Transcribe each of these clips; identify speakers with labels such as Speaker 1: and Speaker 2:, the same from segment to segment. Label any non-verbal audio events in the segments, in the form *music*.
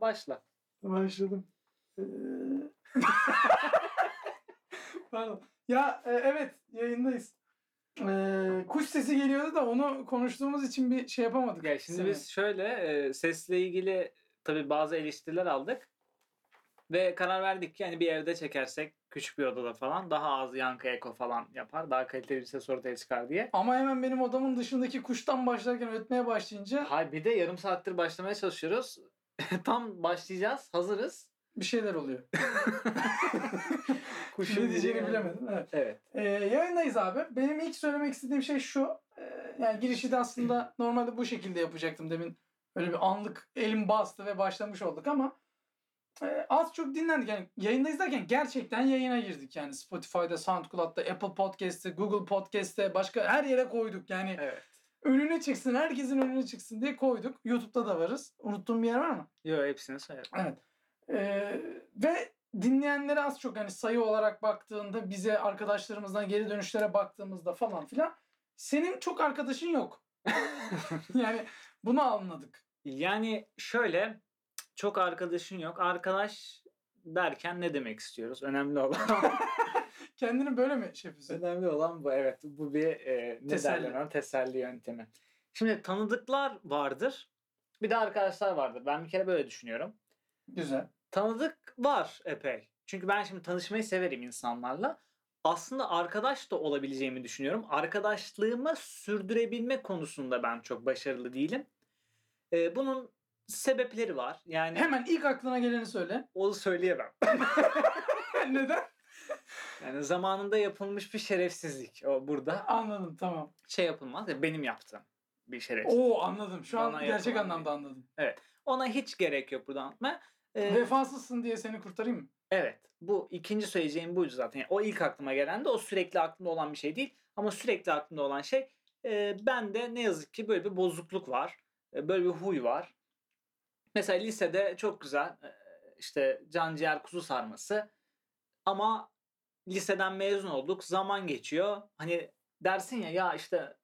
Speaker 1: Başla.
Speaker 2: Başladım. Ee, *laughs* Pardon. Ya e, evet yayındayız. Ee, kuş sesi geliyordu da onu konuştuğumuz için bir şey yapamadık.
Speaker 1: Ya şimdi
Speaker 2: Seni.
Speaker 1: biz şöyle e, sesle ilgili tabii bazı eleştiriler aldık. Ve karar verdik ki hani bir evde çekersek küçük bir odada falan daha az yankı eko falan yapar. Daha kaliteli bir ses ortaya çıkar diye.
Speaker 2: Ama hemen benim odamın dışındaki kuştan başlarken ötmeye başlayınca
Speaker 1: Hay bir de yarım saattir başlamaya çalışıyoruz. *laughs* Tam başlayacağız. Hazırız.
Speaker 2: bir şeyler oluyor.
Speaker 1: Kuşun
Speaker 2: ne diyeceğini
Speaker 1: biri-
Speaker 2: bilemedim. Evet.
Speaker 1: Evet.
Speaker 2: Ee, yayındayız abi. Benim ilk söylemek istediğim şey şu. Ee, yani girişi
Speaker 1: *clears throat*
Speaker 2: de aslında normalde bu şekilde yapacaktım demin. Öyle bir anlık elim bastı ve başlamış olduk ama e, az çok dinlendik. Yani yayındayız derken gerçekten yayına girdik. Yani Spotify'da, SoundCloud'da, Apple Podcast'te, Google Podcast'te başka her yere koyduk. Yani
Speaker 1: Evet.
Speaker 2: önüne çıksın, herkesin önüne çıksın diye koyduk. YouTube'da da varız. Unuttuğum bir yer var mı?
Speaker 1: Yo hepsini söyledim.
Speaker 2: Evet. Ee, ve dinleyenlere az çok hani sayı olarak baktığında bize arkadaşlarımızdan geri dönüşlere baktığımızda falan filan senin çok arkadaşın yok. *laughs* yani bunu anladık.
Speaker 1: Yani şöyle çok arkadaşın yok. Arkadaş derken ne demek istiyoruz? Önemli olan
Speaker 2: Kendini böyle mi şey yapıyorsun?
Speaker 1: Önemli olan bu evet. Bu bir e, ne
Speaker 2: Teselli.
Speaker 1: derler ona? teselli yöntemi. Şimdi tanıdıklar vardır. Bir de arkadaşlar vardır. Ben bir kere böyle düşünüyorum.
Speaker 2: Güzel.
Speaker 1: Tanıdık var epey. Çünkü ben şimdi tanışmayı severim insanlarla. Aslında arkadaş da olabileceğimi düşünüyorum. Arkadaşlığımı sürdürebilme konusunda ben çok başarılı değilim. E, bunun sebepleri var. Yani
Speaker 2: Hemen ilk aklına geleni söyle.
Speaker 1: onu söyleyemem.
Speaker 2: *laughs* Neden?
Speaker 1: Yani zamanında yapılmış bir şerefsizlik. O burada
Speaker 2: Anladım tamam.
Speaker 1: şey yapılmaz. ya, Benim yaptığım bir şerefsizlik.
Speaker 2: Oo anladım. Şu
Speaker 1: Bana
Speaker 2: an gerçek
Speaker 1: yapılan
Speaker 2: anlamda anladım.
Speaker 1: Ona hiç gerek yok buradan anlatmaya. Ee,
Speaker 2: Vefasızsın diye seni kurtarayım mı?
Speaker 1: evet. Bu ikinci söyleyeceğim buydu zaten. Yani o ilk aklıma gelen de o sürekli aklımda olan bir şey değil. Ama sürekli aklımda olan şey e, bende ne yazık ki böyle bir bozukluk var. E, böyle bir huy var. Mesela lisede çok güzel e, işte can ciğer kuzu sarması. Ama liseden mezun olduk. Zaman geçiyor. Hani dersin ya ya işte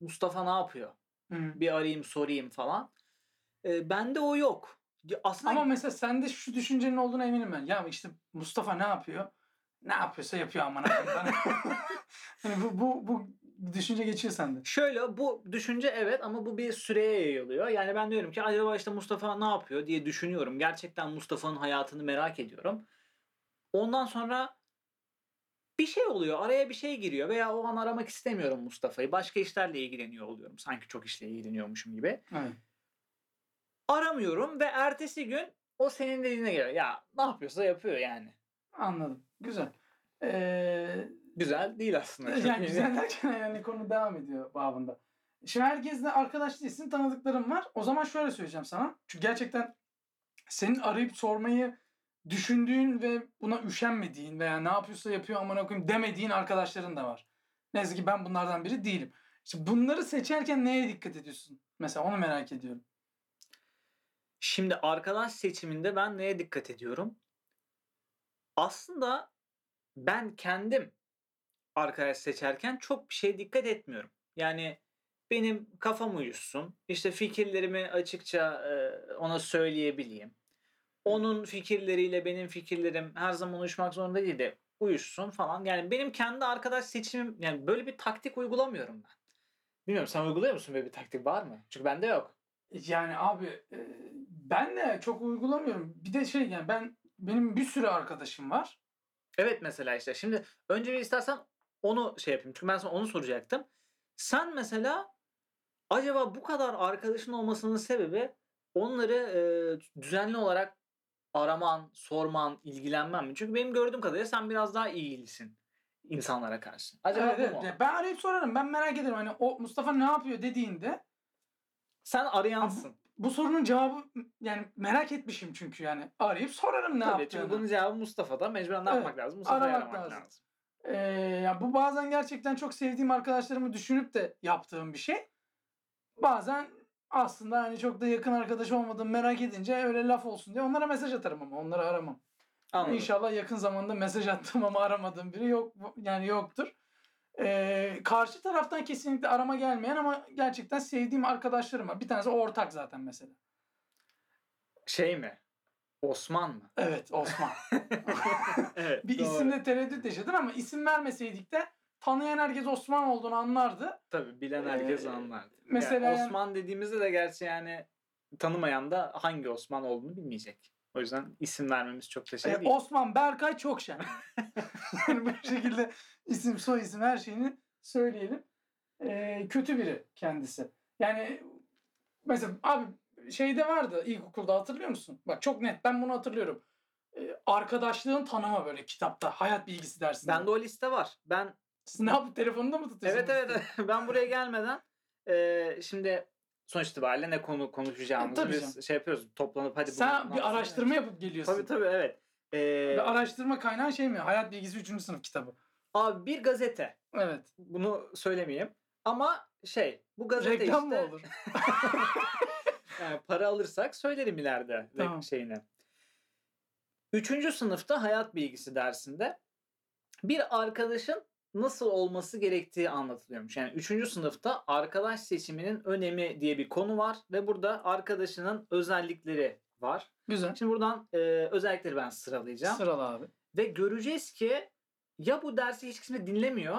Speaker 1: Mustafa ne yapıyor?
Speaker 2: Hı.
Speaker 1: Bir arayayım sorayım falan. E, bende o yok. Ya Aslında
Speaker 2: Ama mesela sende şu düşüncenin olduğuna eminim ben. Ya işte Mustafa ne yapıyor? Ne yapıyorsa yapıyor amına koyayım. hani bu, bu, bu düşünce geçiyor sende.
Speaker 1: Şöyle bu düşünce evet ama bu bir süreye yayılıyor. Yani ben diyorum ki acaba işte Mustafa ne yapıyor diye düşünüyorum. Gerçekten Mustafa'nın hayatını merak ediyorum. Ondan sonra bir şey oluyor. Araya bir şey giriyor veya o an aramak istemiyorum Mustafa'yı. Başka işlerle ilgileniyor oluyorum. Sanki çok işle ilgileniyormuşum gibi.
Speaker 2: Evet.
Speaker 1: Aramıyorum ve ertesi gün o senin dediğine göre ya ne yapıyorsa yapıyor yani.
Speaker 2: Anladım. Güzel. Ee,
Speaker 1: Güzel değil aslında. *laughs* Çok
Speaker 2: *laughs* yani güzel derken yani konu devam ediyor babında. Şimdi herkesle arkadaş değilsin tanıdıklarım var. O zaman şöyle söyleyeceğim sana. Çünkü gerçekten senin arayıp sormayı düşündüğün ve buna üşenmediğin veya ne yapıyorsa yapıyor amına koyayım demediğin arkadaşların da var. Ne yazık ki ben bunlardan biri değilim. İşte bunları seçerken neye dikkat ediyorsun? Mesela onu merak ediyorum.
Speaker 1: Şimdi arkadaş seçiminde ben neye dikkat ediyorum? Aslında ben kendim arkadaş seçerken çok bir şeye dikkat etmiyorum. Yani benim kafam uyuşsun. işte fikirlerimi açıkça e, ona söyleyebileyim. Onun fikirleriyle benim fikirlerim her zaman uyuşmak zorunda değil de uyuşsun falan. Yani benim kendi arkadaş seçimim yani böyle bir taktik uygulamıyorum ben. Bilmiyorum sen uyguluyor musun böyle bir taktik var mı? Çünkü bende yok.
Speaker 2: Yani abi e, ben de çok uygulamıyorum. Bir de şey yani ben benim bir sürü arkadaşım var.
Speaker 1: Evet mesela işte şimdi önce bir istersen onu şey yapayım. Çünkü ben sana onu soracaktım. Sen mesela acaba bu kadar arkadaşın olmasının sebebi onları e, düzenli olarak araman, sorman, ilgilenmen mi? Çünkü benim gördüğüm kadarıyla sen biraz daha ilgilisin insanlara karşı. Acaba
Speaker 2: Evet,
Speaker 1: bu
Speaker 2: evet.
Speaker 1: mu?
Speaker 2: Ben arayıp sorarım. Ben merak ederim. Hani o Mustafa ne yapıyor dediğinde
Speaker 1: Sen arayansın.
Speaker 2: bu sorunun cevabı yani merak etmişim çünkü yani. Arayıp sorarım ne
Speaker 1: Tabii çünkü
Speaker 2: yaptığını.
Speaker 1: bunun cevabı Mustafa'da. Mecburen ne
Speaker 2: Evet,
Speaker 1: yapmak lazım? Mustafa'yı
Speaker 2: aramak
Speaker 1: aramak
Speaker 2: lazım.
Speaker 1: lazım.
Speaker 2: Ee, ya bu bazen gerçekten çok sevdiğim arkadaşlarımı düşünüp de yaptığım bir şey. Bazen aslında hani çok da yakın arkadaş olmadığımı merak edince öyle laf olsun diye onlara mesaj atarım ama onları aramam.
Speaker 1: Anladım.
Speaker 2: İnşallah yakın zamanda mesaj attığım ama aramadığım biri yok yani yoktur. Ee, karşı taraftan kesinlikle arama gelmeyen ama gerçekten sevdiğim arkadaşlarım var. Bir tanesi ortak zaten mesela.
Speaker 1: Şey mi? Osman
Speaker 2: *laughs*
Speaker 1: mı? *laughs*
Speaker 2: Evet Osman.
Speaker 1: Evet.
Speaker 2: bir
Speaker 1: doğru.
Speaker 2: isimle tereddüt yaşadım ama isim vermeseydik de tanıyan herkes Osman olduğunu anlardı.
Speaker 1: Tabii bilen herkes
Speaker 2: Ee,
Speaker 1: anlardı.
Speaker 2: mesela
Speaker 1: Yani
Speaker 2: yani-
Speaker 1: Osman dediğimizde de gerçi yani tanımayan da hangi Osman olduğunu bilmeyecek. O yüzden isim vermemiz çok da şey
Speaker 2: Ee,
Speaker 1: değil.
Speaker 2: Osman Berkay
Speaker 1: *laughs*
Speaker 2: Çokşen. yani bu şekilde isim, soy isim her şeyini söyleyelim. Ee, kötü biri kendisi. Yani mesela abi şeyde vardı ilkokulda hatırlıyor musun? Bak çok net ben bunu hatırlıyorum. Ee, arkadaşlığın tanıma böyle kitapta hayat bilgisi dersinde.
Speaker 1: Bende o liste var. Ben
Speaker 2: Siz ne yapıp telefonunda mı tutuyorsunuz?
Speaker 1: evet evet *laughs* ben buraya gelmeden e, şimdi sonuç itibariyle ne konu konuşacağımızı
Speaker 2: E, tabii
Speaker 1: biz
Speaker 2: canım.
Speaker 1: şey yapıyoruz toplanıp hadi
Speaker 2: Sen
Speaker 1: bunun
Speaker 2: bir
Speaker 1: altına-
Speaker 2: araştırma yapıp geliyorsun.
Speaker 1: Tabii tabii evet. E,
Speaker 2: Ve araştırma kaynağı şey mi? Hayat bilgisi 3. sınıf kitabı.
Speaker 1: abi bir gazete.
Speaker 2: Evet.
Speaker 1: Bunu söylemeyeyim. Ama şey bu gazete
Speaker 2: Reklam
Speaker 1: işte.
Speaker 2: mı olur?
Speaker 1: Yani para alırsak söylerim ileride re-
Speaker 2: Tamam.
Speaker 1: şeyini. Üçüncü sınıfta hayat bilgisi dersinde bir arkadaşın nasıl olması gerektiği anlatılıyormuş. Yani üçüncü sınıfta arkadaş seçiminin önemi diye bir konu var ve burada arkadaşının özellikleri var.
Speaker 2: Güzel.
Speaker 1: Şimdi buradan e, özellikleri ben sıralayacağım.
Speaker 2: Sıralı abi.
Speaker 1: Ve göreceğiz ki ya bu dersi hiç kimse
Speaker 2: *laughs*
Speaker 1: dinlemiyor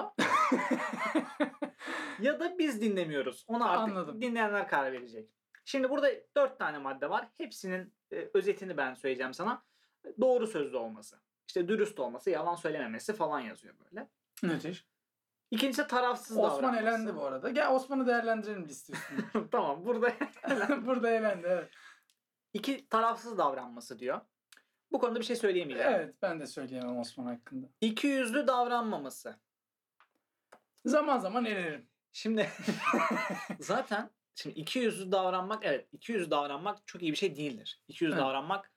Speaker 1: ya da biz dinlemiyoruz. Onu artık
Speaker 2: Anladım.
Speaker 1: dinleyenler karar verecek. Şimdi burada dört tane madde var. Hepsinin e, özetini ben söyleyeceğim sana. Doğru sözlü olması. işte dürüst olması, yalan söylememesi falan yazıyor böyle.
Speaker 2: Müthiş.
Speaker 1: İkincisi tarafsız
Speaker 2: Osman
Speaker 1: davranması.
Speaker 2: elendi bu arada. Gel Osman'ı değerlendirelim liste üstünde.
Speaker 1: *laughs*
Speaker 2: *laughs*
Speaker 1: tamam burada *laughs*
Speaker 2: Burada elendi evet.
Speaker 1: iki tarafsız davranması diyor. Bu konuda bir şey söyleyemeyeceğim.
Speaker 2: Evet ben de söyleyemem Osman hakkında.
Speaker 1: İki yüzlü davranmaması.
Speaker 2: Zaman zaman elerim. *laughs*
Speaker 1: Şimdi zaten şimdi iki yüzlü davranmak evet iki yüzlü davranmak çok iyi bir şey değildir. İki yüzlü
Speaker 2: Evet.
Speaker 1: davranmak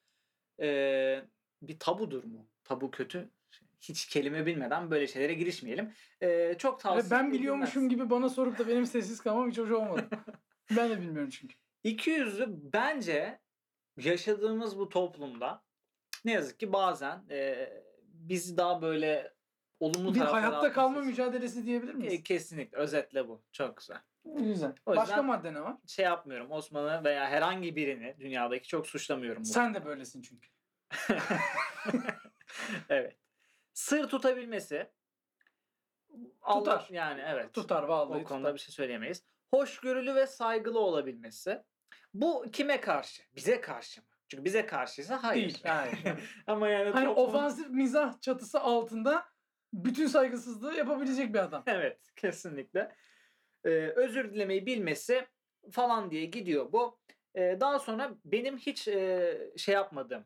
Speaker 1: eee, bir tabudur mu? Tabu kötü. Hiç kelime bilmeden böyle şeylere girişmeyelim. Eee, çok tavsiye
Speaker 2: Ve ben biliyormuşum gibi bana sorup da benim sessiz kalmam hiç
Speaker 1: *laughs*
Speaker 2: hoş olmadı. ben de bilmiyorum çünkü.
Speaker 1: İki yüzlü bence yaşadığımız bu toplumda ne yazık ki bazen eee bizi daha böyle olumlu
Speaker 2: Bir
Speaker 1: taraflara
Speaker 2: hayatta kalma
Speaker 1: atmasız-
Speaker 2: mücadelesi diyebilir miyiz?
Speaker 1: E, Kesinlikle özetle bu. Çok güzel.
Speaker 2: Güzel.
Speaker 1: O yüzden-
Speaker 2: Başka madde ne var?
Speaker 1: şey yapmıyorum. Osman'ı veya herhangi birini dünyadaki çok suçlamıyorum. bu
Speaker 2: Sen de böylesin çünkü.
Speaker 1: evet. Sır tutabilmesi. Allah-
Speaker 2: Tutar.
Speaker 1: Yani evet.
Speaker 2: Tutar vallahi
Speaker 1: O konuda
Speaker 2: tutar.
Speaker 1: bir şey söyleyemeyiz. Hoşgörülü ve saygılı olabilmesi. Bu kime karşı? Bize karşı mı? Çünkü bize karşıysa hayır.
Speaker 2: Değil.
Speaker 1: *laughs*
Speaker 2: Hayır.
Speaker 1: Ama yani
Speaker 2: hani
Speaker 1: toplum-
Speaker 2: ofansif mizah çatısı altında bütün saygısızlığı yapabilecek
Speaker 1: *laughs*
Speaker 2: bir adam.
Speaker 1: Evet kesinlikle. Ee, özür dilemeyi bilmesi falan diye gidiyor bu. Ee, daha sonra benim hiç e, şey yapmadığım,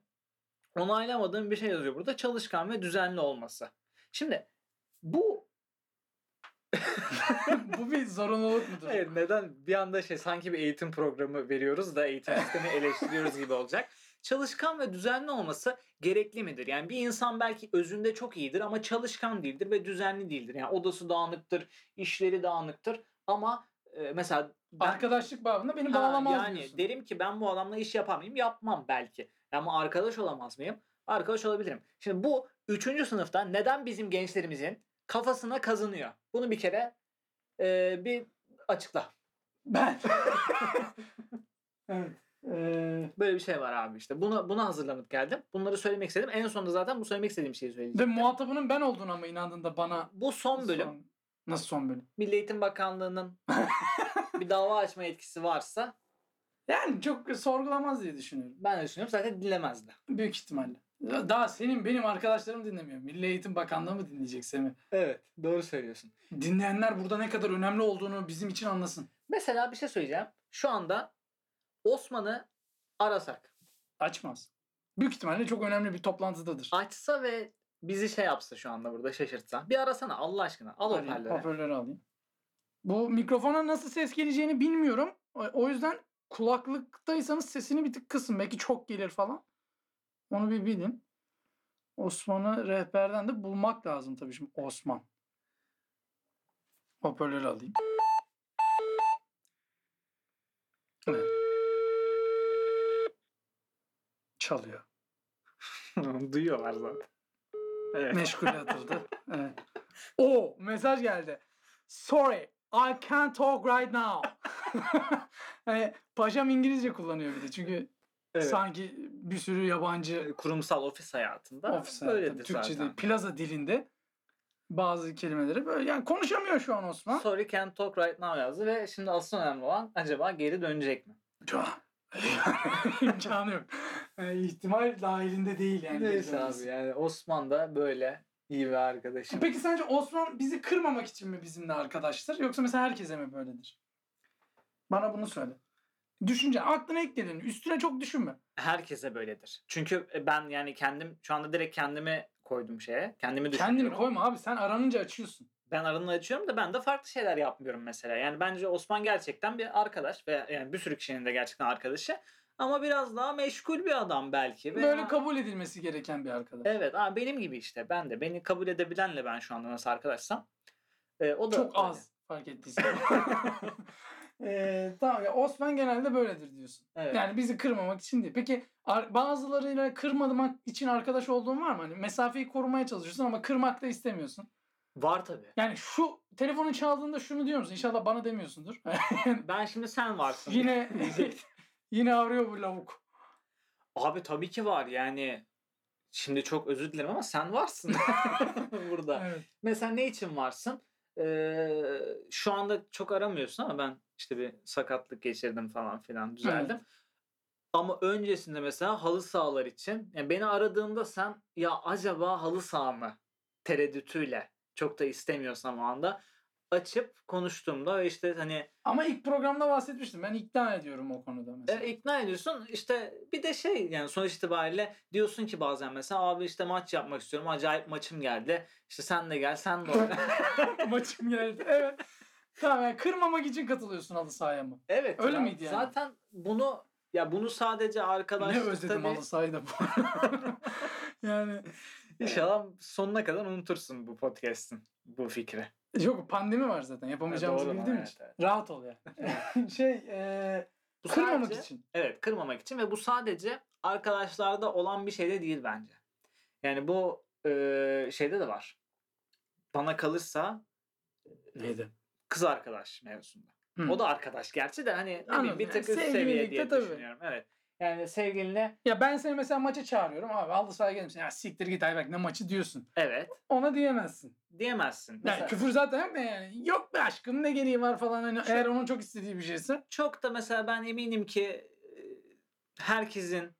Speaker 1: onaylamadığım bir şey yazıyor burada. Çalışkan ve düzenli olması. Şimdi bu
Speaker 2: Bu bir zorunluluk mudur?
Speaker 1: Evet, neden bir anda şey sanki bir eğitim programı veriyoruz da eğitim sistemi eleştiriyoruz gibi olacak. Çalışkan ve düzenli olması gerekli midir? Yani bir insan belki özünde çok iyidir ama çalışkan değildir ve düzenli değildir. Yani odası dağınıktır, işleri dağınıktır ama e, mesela ben-
Speaker 2: Arkadaşlık bağında beni
Speaker 1: Ha,
Speaker 2: bağlamaz
Speaker 1: yani
Speaker 2: diyorsun.
Speaker 1: derim ki ben bu adamla iş yapar mıyım? Yapmam belki. Ama arkadaş olamaz mıyım? Arkadaş olabilirim. Şimdi bu 3. sınıfta neden bizim gençlerimizin kafasına kazınıyor? Bunu bir kere e, bir açıkla.
Speaker 2: Ben. *laughs* evet. Ee,
Speaker 1: Böyle bir şey var abi işte. Buna buna hazırlanıp geldim. Bunları söylemek istedim. En sonunda zaten bu söylemek istediğim şeyi söyleyeceğim.
Speaker 2: ve muhatabının ben olduğunu ama inandığında bana.
Speaker 1: Bu son bölüm
Speaker 2: Son- Nasıl son bölüm?
Speaker 1: Milli Eğitim *laughs* Bakanlığı'nın bir dava açma yetkisi varsa
Speaker 2: Yani çok sorgulamaz diye düşünüyorum.
Speaker 1: ben de düşünüyorum zaten dinlemezdi.
Speaker 2: Büyük ihtimalle. Daha senin benim arkadaşlarım dinlemiyor. Milli Eğitim Bakanlığı mı dinleyecek Semih?
Speaker 1: Evet doğru söylüyorsun.
Speaker 2: Dinleyenler burada ne kadar önemli olduğunu bizim için anlasın.
Speaker 1: Mesela bir şey söyleyeceğim. Şu anda Osman'ı arasak,
Speaker 2: Açmaz. Büyük ihtimalle çok önemli bir toplantıdadır.
Speaker 1: açsa ve bizi şey yapsa şu anda burada şaşırtsa. Bir arasana Allah aşkına. Al *laughs*
Speaker 2: Alayım,
Speaker 1: hoparlörü.
Speaker 2: hoparlörü alayım. Bu mikrofona nasıl ses geleceğini bilmiyorum. O- O yüzden kulaklıktaysanız sesini bir tık kısın. Belki çok gelir falan. Onu bir bilin. Osman'ı rehberden de bulmak lazım tabii şimdi Osman. Hoparlörü alayım. Evet. Çalıyor.
Speaker 1: Duyuyorlar zaten. Evet.
Speaker 2: Meşgule atıldı. evet. O mesaj geldi. Sorry, I *laughs* can't talk right now. yani paşam İngilizce Hani kullanıyor bir de çünkü
Speaker 1: Evet.
Speaker 2: Sanki bir sürü yabancı
Speaker 1: Kurumsal ofis hayatında
Speaker 2: ofis
Speaker 1: böyledir
Speaker 2: Türkçe'de
Speaker 1: zaten.
Speaker 2: plaza dilinde bazı kelimeleri böyle yani konuşamıyor şu an Osman.
Speaker 1: Sorry can't talk right now yazdı ve şimdi asıl önemli olan acaba geri dönecek mi?
Speaker 2: Şu an. *laughs* İmkanı yok. E, ihtimal dahilinde değil yani.
Speaker 1: Neyse
Speaker 2: Bilmiyorum.
Speaker 1: abi yani Osman da böyle iyi bir arkadaşım.
Speaker 2: Peki sence Osman bizi kırmamak için mi bizimle arkadaştır? Yoksa mesela herkese mi böyledir? Bana bunu söyle. Düşünce aklına ilk geleni üstüne çok düşünme.
Speaker 1: Herkese böyledir. Çünkü e, ben yani kendim şu anda direkt kendimi koydum şeye. Kendimi düşünüyorum.
Speaker 2: Kendini koyma abi sen aranınca açıyorsun.
Speaker 1: ben aranı açıyorum da ben de farklı şeyler yapmıyorum mesela. Yani bence Osman gerçekten bir arkadaş ve yani bir sürü kişinin de gerçekten arkadaşı ama biraz daha meşgul bir adam belki. Ve
Speaker 2: Böyle kabul edilmesi gereken bir arkadaş.
Speaker 1: Evet, aa, benim gibi işte. Ben de beni kabul edebilenle ben şu anda nasıl arkadaşsam. e, o da
Speaker 2: Çok
Speaker 1: öyle.
Speaker 2: az
Speaker 1: *laughs*
Speaker 2: fark ettiysen. Ee, tamam ya Osman genelde böyledir diyorsun.
Speaker 1: Evet.
Speaker 2: Yani bizi kırmamak için değil. Peki ar- bazılarıyla kırmamak için arkadaş olduğun var mı? Hani mesafeyi korumaya çalışıyorsun ama kırmak da istemiyorsun.
Speaker 1: Var tabii.
Speaker 2: Yani şu telefonun çaldığında şunu diyor musun? İnşallah bana demiyorsundur. *laughs*
Speaker 1: Ben şimdi sen varsın.
Speaker 2: yine
Speaker 1: şey diyecektim.
Speaker 2: *laughs* yine arıyor bu lavuk.
Speaker 1: *laughs* Abi tabii ki var yani. Şimdi çok özür dilerim ama sen varsın *laughs* burada.
Speaker 2: Evet.
Speaker 1: Mesela ne için varsın? Ee, şu anda çok aramıyorsun ama ben işte bir sakatlık geçirdim falan filan düzeldim. Ama öncesinde mesela halı sahalar için yani beni aradığında sen ya acaba halı saha mı tereddütüyle çok da istemiyorsam o anda açıp konuştuğumda ve işte hani
Speaker 2: Ama ilk programda bahsetmiştim. Ben ikna ediyorum o konuda mesela.
Speaker 1: e, ikna ediyorsun işte bir de şey yani sonuç itibariyle diyorsun ki bazen mesela abi işte maç yapmak istiyorum acayip maçım geldi işte sen de gel sen de
Speaker 2: *laughs*
Speaker 1: oyna.
Speaker 2: Maçım geldi. Evet. Tamam yani kırmamak için katılıyorsun halı sahaya mı?
Speaker 1: Evet.
Speaker 2: Öyle
Speaker 1: ya.
Speaker 2: miydi yani?
Speaker 1: Zaten bunu ya bunu sadece arkadaş
Speaker 2: Ne özledim
Speaker 1: tabii,
Speaker 2: halı sahayı da bu. *laughs* yani
Speaker 1: İnşallah sonuna kadar unutursun bu podcast'in bu fikri.
Speaker 2: yok pandemi var zaten yapamayacağımızı
Speaker 1: Ha, doğru,
Speaker 2: bildiğim
Speaker 1: evet,
Speaker 2: için. Rahat ol ya. *laughs* şey e,
Speaker 1: Bu
Speaker 2: kırmamak
Speaker 1: sadece-
Speaker 2: için.
Speaker 1: Evet, kırmamak için ve bu sadece arkadaşlarda olan bir şey de değil bence. Yani bu e, şeyde de var. Bana kalırsa
Speaker 2: Neydi?
Speaker 1: kız arkadaş mevzusunda.
Speaker 2: Hı.
Speaker 1: O da arkadaş gerçi de hani ne
Speaker 2: Anladım.
Speaker 1: bileyim, bir
Speaker 2: Yani
Speaker 1: tık üst
Speaker 2: sevgililikte
Speaker 1: seviye diye
Speaker 2: tabii.
Speaker 1: düşünüyorum. Evet. Yani sevgilinle
Speaker 2: Ya ben seni mesela maça çağırıyorum abi halı sahaya gelmişsin. Ya siktir git Ayberk ne maçı diyorsun.
Speaker 1: evet
Speaker 2: Ona diyemezsin.
Speaker 1: diyemezsin.
Speaker 2: Yani
Speaker 1: Mesela-
Speaker 2: küfür zaten yok da yani. Yok be aşkım ne gereği var falan. Hani
Speaker 1: Şu-
Speaker 2: eğer onun çok istediği bir şeyse.
Speaker 1: çok da mesela ben eminim ki e, herkesin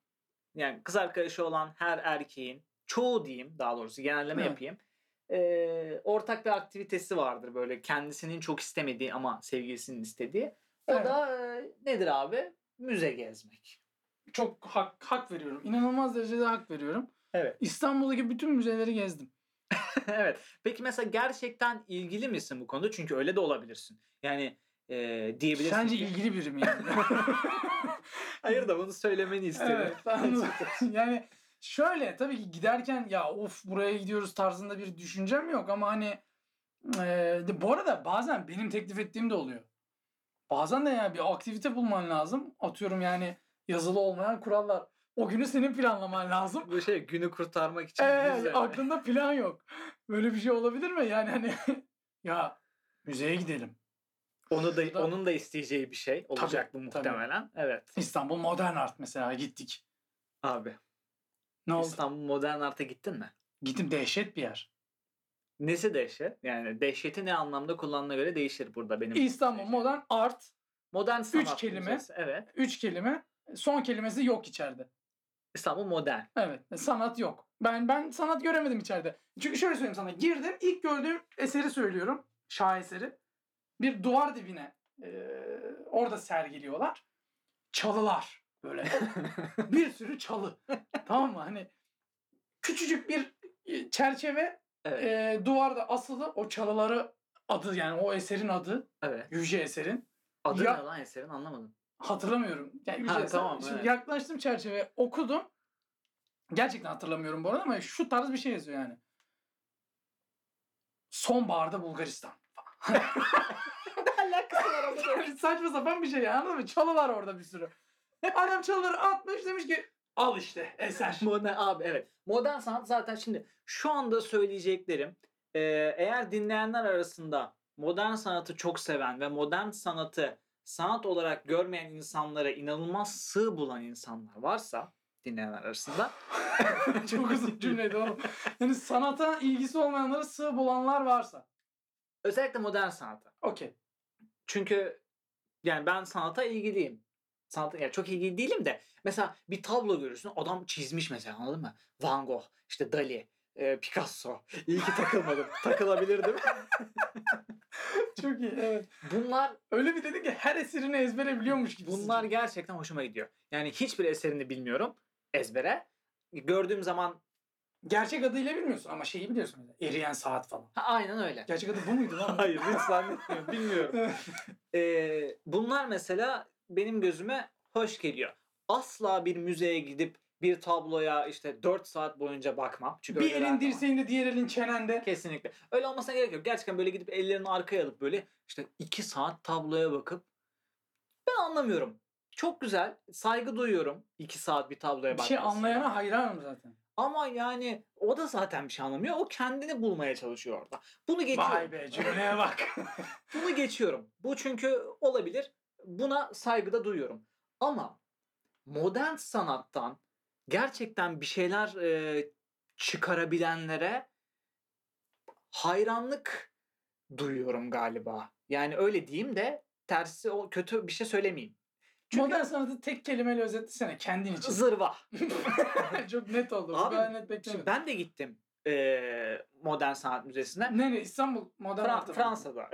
Speaker 1: yani kız arkadaşı olan her erkeğin çoğu diyeyim daha doğrusu genelleme
Speaker 2: Evet.
Speaker 1: yapayım. e, ortak bir aktivitesi vardır böyle kendisinin çok istemediği ama sevgilisinin istediği. O
Speaker 2: Evet.
Speaker 1: da e, nedir abi? Müze gezmek.
Speaker 2: Çok hak, hak veriyorum. İnanılmaz derecede hak veriyorum.
Speaker 1: Evet.
Speaker 2: İstanbul'daki bütün müzeleri gezdim.
Speaker 1: evet. Peki mesela gerçekten ilgili misin bu konuda? Çünkü öyle de olabilirsin. Yani e, diyebilirsin.
Speaker 2: Sence
Speaker 1: ki-
Speaker 2: ilgili biri mi yani?
Speaker 1: *laughs*
Speaker 2: *laughs*
Speaker 1: Hayır da bunu söylemeni istedim.
Speaker 2: evet. anladım. yani şöyle tabii ki giderken ya of buraya gidiyoruz tarzında bir düşüncem yok ama hani eee, de, bu arada bazen benim teklif ettiğim de oluyor. Bazen de yani bir aktivite bulman lazım. Atıyorum yani yazılı olmayan kurallar. O günü senin planlaman lazım.
Speaker 1: *laughs* Bu şey günü kurtarmak için
Speaker 2: Ee,
Speaker 1: müze.
Speaker 2: aklında plan yok. Böyle bir şey olabilir mi? Yani hani *laughs* ya müzeye gidelim.
Speaker 1: Onu da
Speaker 2: Şurada-
Speaker 1: onun da isteyeceği bir şey olacak bu
Speaker 2: tabii.
Speaker 1: muhtemelen. Evet.
Speaker 2: İstanbul Modern Art mesela gittik.
Speaker 1: Abi
Speaker 2: Ne oldu?
Speaker 1: İstanbul Modern Art'a gittin mi?
Speaker 2: Gittim dehşet bir yer.
Speaker 1: Nesi dehşet? Yani dehşeti ne anlamda kullandığına göre değişir burada benim.
Speaker 2: İstanbul
Speaker 1: söyleyeceğim.
Speaker 2: Modern Art
Speaker 1: Modern sanat.
Speaker 2: kelime.
Speaker 1: müzesi, Evet.
Speaker 2: üç kelime. Son kelimesi yok içeride.
Speaker 1: İstanbul Modern.
Speaker 2: Evet. e, Sanat yok. Ben ben sanat göremedim içeride. Çünkü şöyle söyleyeyim sana. Girdim. ilk gördüğüm eseri söylüyorum. Şaheseri. Bir duvar dibine eee, orada sergiliyorlar. Çalılar. Böyle bir sürü çalı. tamam mı? Hani küçücük bir e, çerçeve
Speaker 1: Evet.
Speaker 2: e, duvarda asılı o çalıları adı yani o eserin adı
Speaker 1: evet.
Speaker 2: Yüce eserin
Speaker 1: Adı
Speaker 2: Ya-
Speaker 1: ne lan eserin anlamadım.
Speaker 2: hatırlamıyorum. Yani Yüce
Speaker 1: Ha,
Speaker 2: eser.
Speaker 1: tamam,
Speaker 2: Şimdi
Speaker 1: evet.
Speaker 2: yaklaştım çerçeve okudum. Gerçekten hatırlamıyorum bu arada ama şu tarz bir şey yazıyor yani.
Speaker 1: *laughs*
Speaker 2: Sonbaharda Bulgaristan.
Speaker 1: Alakası var
Speaker 2: Saçma sapan bir şey ya anladın mı? Çalı var orada bir sürü. Adam çalıları atmış demiş ki al işte eser.
Speaker 1: Modern abi evet. Modern sanat zaten şimdi şu anda söyleyeceklerim e, eğer dinleyenler arasında modern sanatı çok seven ve modern sanatı sanat olarak görmeyen insanlara inanılmaz sığ bulan insanlar varsa dinleyenler arasında
Speaker 2: *laughs* Çok uzun cümleydi oğlum. Yani sanata ilgisi olmayanlara sığ bulanlar varsa.
Speaker 1: özellikle modern sanata.
Speaker 2: Okey.
Speaker 1: Çünkü yani ben sanata ilgiliyim. Sanata yani çok ilgili değilim de mesela bir tablo görürsün adam çizmiş mesela anladın mı? Van Gogh, işte Dali, e, Picasso. İyi ki takılmadım. Takılabilirdim.
Speaker 2: Çok iyi evet.
Speaker 1: Bunlar
Speaker 2: Öyle bir dedin ki her eserini ezbere biliyormuş gibi.
Speaker 1: Bunlar gerçekten hoşuma gidiyor. Yani hiçbir eserini bilmiyorum ezbere. Gördüğüm zaman
Speaker 2: Gerçek adıyla bilmiyorsun ama şeyi biliyorsun. mesela, Eriyen saat falan.
Speaker 1: ha, aynen
Speaker 2: *laughs*
Speaker 1: öyle.
Speaker 2: Gerçek adı bu muydu lan?
Speaker 1: Hayır hiç zannetmiyorum. Bilmiyorum. Ee, bunlar mesela benim gözüme hoş geliyor. Asla bir müzeye gidip bir tabloya işte 4 saat boyunca bakmam. Çünkü
Speaker 2: *laughs* bir
Speaker 1: öyle ben
Speaker 2: elin
Speaker 1: de var.
Speaker 2: dirseğinde diğer elin çenende.
Speaker 1: Kesinlikle. Öyle olmasına gerek yok. Gerçekten böyle gidip ellerini arkaya alıp böyle işte iki saat tabloya bakıp ben anlamıyorum. Çok güzel. Saygı duyuyorum. iki saat bir tabloya
Speaker 2: Bir
Speaker 1: bakmak.
Speaker 2: şey anlayana hayranım zaten.
Speaker 1: Ama yani o da zaten bir şey anlamıyor. O kendini bulmaya çalışıyor orada. Bunu geçiyorum.
Speaker 2: Vay be cümleye bak.
Speaker 1: *laughs* Bunu geçiyorum. Bu çünkü olabilir. Buna saygıda duyuyorum. Ama modern sanattan gerçekten bir şeyler e, çıkarabilenlere hayranlık duyuyorum galiba. Yani öyle diyeyim de tersi o kötü bir şey söylemeyeyim. Çünkü
Speaker 2: Modern sanatı tek kelimeyle özetlesene kendin için.
Speaker 1: zırva.
Speaker 2: *laughs* Çok net oldu. bu
Speaker 1: Abi,
Speaker 2: kadar net
Speaker 1: Şimdi
Speaker 2: beklemedim.
Speaker 1: ben de gittim e, modern sanat müzesine.
Speaker 2: Nereye? İstanbul Modern
Speaker 1: Fra-
Speaker 2: Anıtı mı? *laughs*
Speaker 1: Fransa'da.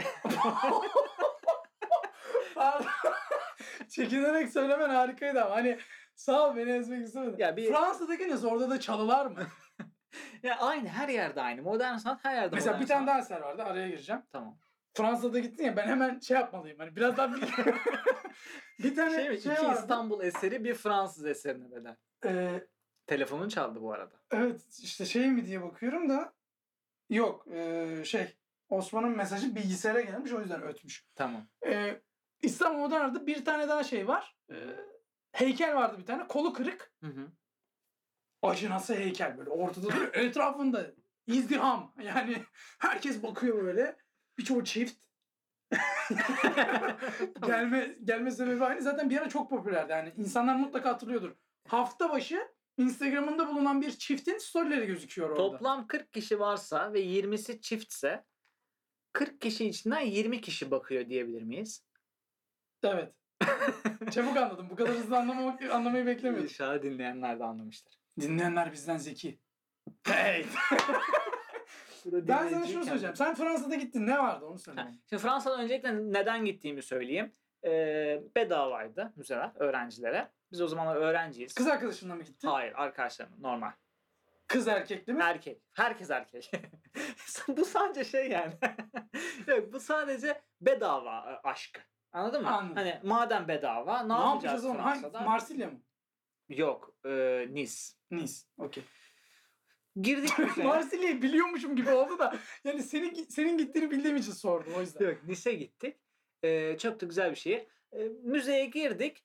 Speaker 2: Pardon. *laughs* Çekinerek söylemen harikaydı ama hani sağ ol beni ezmek istemedim.
Speaker 1: Ya bir-
Speaker 2: Fransa'daki nasıl? Orada da
Speaker 1: *laughs*
Speaker 2: çalılar mı?
Speaker 1: Ya aynı her yerde aynı. Modern sanat her yerde
Speaker 2: Mesela
Speaker 1: modern
Speaker 2: bir tane
Speaker 1: sanat.
Speaker 2: daha eser vardı araya gireceğim.
Speaker 1: Tamam.
Speaker 2: Fransa'da gittin ya ben hemen şey yapmalıyım hani biraz
Speaker 1: *laughs*
Speaker 2: daha bir... bir tane
Speaker 1: Şey
Speaker 2: şey,
Speaker 1: mi? İki
Speaker 2: vardı.
Speaker 1: İstanbul eseri bir Fransız eserine bedel.
Speaker 2: Ee,
Speaker 1: Telefonun çaldı bu arada.
Speaker 2: evet işte şey mi diye bakıyorum da yok ee, şey Osman'ın mesajı bilgisayara gelmiş o yüzden ötmüş.
Speaker 1: Tamam.
Speaker 2: Ee, İstanbul Modern Anıtı'da bir tane daha şey var. Ee, heykel vardı bir tane. Kolu kırık.
Speaker 1: Hı *laughs* hı.
Speaker 2: Acınası heykel böyle ortada duruyor. Etrafında izdiham. Yani herkes bakıyor böyle. Birçoğu çift. gelme gelme sebebi aynı. Zaten bir ara çok popülerdi. Yani insanlar mutlaka hatırlıyordur. Hafta başı Instagram'ında bulunan bir çiftin storyleri gözüküyor orada.
Speaker 1: Toplam 40 kişi varsa ve 20'si çiftse 40 kişi içinden 20 kişi bakıyor diyebilir miyiz?
Speaker 2: Evet. *laughs* Çabuk anladım. Bu kadar hızlı anlamamak, anlamayı beklemiyordum.
Speaker 1: İnşallah dinleyenler de anlamıştır.
Speaker 2: Dinleyenler bizden zeki. Hey! Ben sana şunu söyleyeceğim. Sen Fransa'da gittin. Ne vardı onu söyle.
Speaker 1: Ha. Şimdi Fransa'da öncelikle neden gittiğimi söyleyeyim. Ee, bedavaydı müzeler öğrencilere. Biz o zamanlar öğrenciyiz.
Speaker 2: Kız arkadaşınla mı gittin?
Speaker 1: Hayır arkadaşlarım normal.
Speaker 2: Kız erkekli mi?
Speaker 1: Erkek. Herkes erkek. *laughs* bu sadece şey yani. *laughs* Yok bu sadece bedava e, aşkı. Anladın mı?
Speaker 2: Anladım.
Speaker 1: Hani madem bedava ne,
Speaker 2: ne
Speaker 1: yapacağız
Speaker 2: yapacağız onu? Hangi?
Speaker 1: Fransa'da?
Speaker 2: Marsilya mı?
Speaker 1: Yok. E, Nice.
Speaker 2: Nice. Okey. *laughs*
Speaker 1: Girdik şey. müzeye.
Speaker 2: Marsilya'yı biliyormuşum gibi oldu da yani senin senin gittiğini bildiğim için sordum
Speaker 1: *laughs*
Speaker 2: o yüzden.
Speaker 1: Yok Nice'e gittik. E, çok da güzel bir şehir. E, müzeye girdik.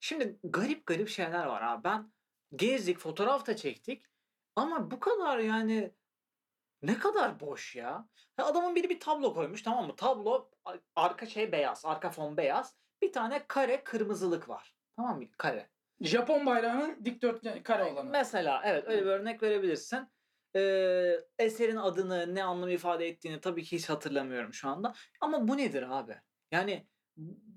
Speaker 1: Şimdi garip garip şeyler var abi. Ben gezdik fotoğraf da çektik. Ama bu kadar yani ne kadar boş ya. Ya Adamın biri bir tablo koymuş tamam mı? Tablo a- arka şey beyaz, arka fon beyaz. Bir tane kare kırmızılık var. Tamam mı? Kare.
Speaker 2: Japon bayrağının dikdörtgen kare olanı.
Speaker 1: Mesela evet öyle bir örnek verebilirsin. Ee, eserin adını, ne anlam ifade ettiğini tabii ki hiç hatırlamıyorum şu anda. Ama bu nedir abi? Yani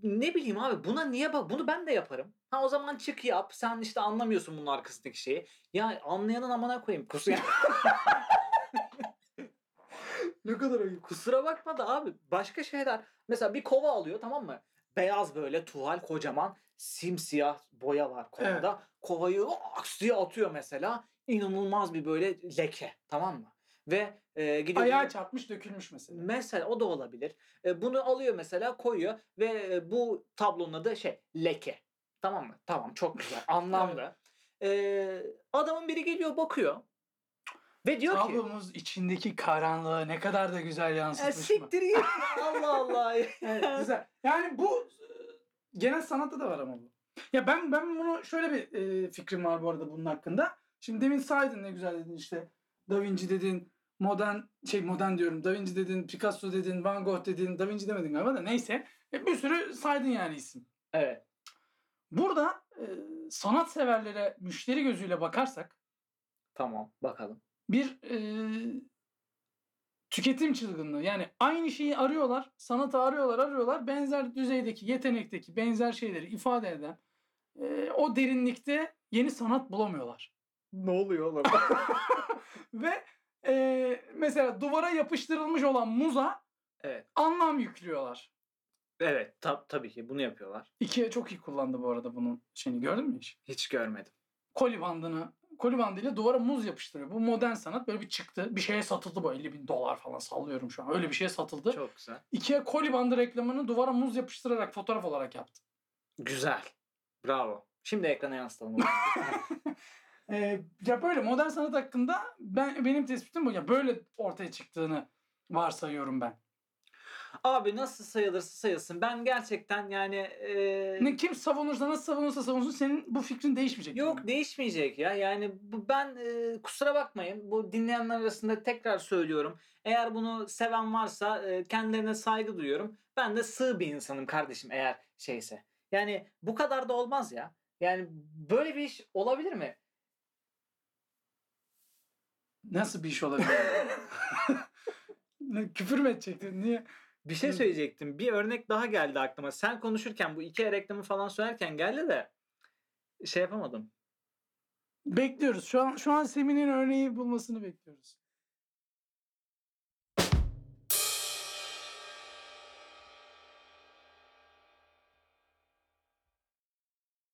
Speaker 1: ne bileyim abi buna niye bak bunu ben de yaparım. Ha o zaman çık yap. Sen işte anlamıyorsun bunun arkasındaki şeyi. Ya anlayanın amına koyayım. Kusura,
Speaker 2: Ne kadar ayıp.
Speaker 1: kusura bakma da abi başka şeyler. Mesela bir kova alıyor tamam mı? Beyaz böyle tuval kocaman simsiyah boya var kovada. Kovayı aks diye atıyor mesela. İnanılmaz bir böyle leke tamam mı? Ve e, gidiyor.
Speaker 2: Ayağa çarpmış dökülmüş mesela.
Speaker 1: Mesela o da olabilir. E, bunu alıyor mesela koyuyor ve e, bu tablonun adı şey leke. Tamam mı? Tamam çok güzel anlamlı. E, adamın biri geliyor bakıyor ve diyor ki
Speaker 2: Tablomuz içindeki karanlığı ne kadar da güzel
Speaker 1: "E,
Speaker 2: yansıtmış mı?
Speaker 1: siktir git *laughs* Allah Allah.
Speaker 2: Evet, güzel. Yani bu e, genel sanatta da var ama bu. Ya ben ben bunu şöyle bir e, fikrim var bu arada bunun hakkında. Şimdi demin saydın ne güzel dedin işte Da Vinci dedin, modern şey modern diyorum. Da Vinci dedin, Picasso dedin, Van Gogh dedin, Da Vinci demedin galiba da neyse. E, bir sürü saydın yani isim.
Speaker 1: Evet.
Speaker 2: Burada e, sanat severlere müşteri gözüyle bakarsak
Speaker 1: Tamam bakalım.
Speaker 2: bir e, tüketim çılgınlığı. Yani aynı şeyi arıyorlar, sanatı arıyorlar, arıyorlar. Benzer düzeydeki, yetenekteki benzer şeyleri ifade eden e, o derinlikte yeni sanat bulamıyorlar.
Speaker 1: Ne oluyor oğlum? *laughs*
Speaker 2: Ve e, mesela duvara yapıştırılmış olan muza
Speaker 1: Evet.
Speaker 2: anlam yüklüyorlar.
Speaker 1: evet tab- tabii ki bunu yapıyorlar.
Speaker 2: İkiye çok iyi kullandı bu arada bunun şeyini gördün mü hiç?
Speaker 1: Hiç görmedim.
Speaker 2: Koli bandını koli bandıyla duvara muz yapıştırıyor. Bu modern sanat böyle bir çıktı. Bir şeye satıldı bu 50 bin dolar falan sallıyorum şu an. Öyle bir şeye satıldı.
Speaker 1: Çok güzel.
Speaker 2: Ikea koli bandı reklamını duvara muz yapıştırarak fotoğraf olarak yaptı.
Speaker 1: Güzel. Bravo. Şimdi ekrana yansıtalım. *laughs* onu.
Speaker 2: Ee, ya böyle modern sanat hakkında ben benim tespitim bu. Ya böyle ortaya çıktığını varsayıyorum ben.
Speaker 1: Abi nasıl sayılırsa sayılsın. Ben gerçekten yani... e,
Speaker 2: Ne kim savunursa nasıl savunursa savunsun senin bu fikrin değişmeyecek.
Speaker 1: Yok *laughs*
Speaker 2: Yani.
Speaker 1: değişmeyecek ya. Yani bu, ben e, kusura bakmayın. Bu dinleyenler arasında tekrar söylüyorum. Eğer bunu seven varsa e, kendilerine saygı duyuyorum. Ben de sığ bir insanım kardeşim eğer şeyse. Yani bu kadar da olmaz ya. Yani böyle bir iş olabilir mi?
Speaker 2: Nasıl bir iş olabilir? *laughs* Ne, Küfür mü edecektin? Niye?
Speaker 1: Bir şey
Speaker 2: Hı.
Speaker 1: söyleyecektim. Bir örnek daha geldi aklıma. Sen konuşurken bu iki reklamı falan söylerken geldi de şey yapamadım.
Speaker 2: Bekliyoruz. Şu an şu an Semin'in örneği bulmasını bekliyoruz.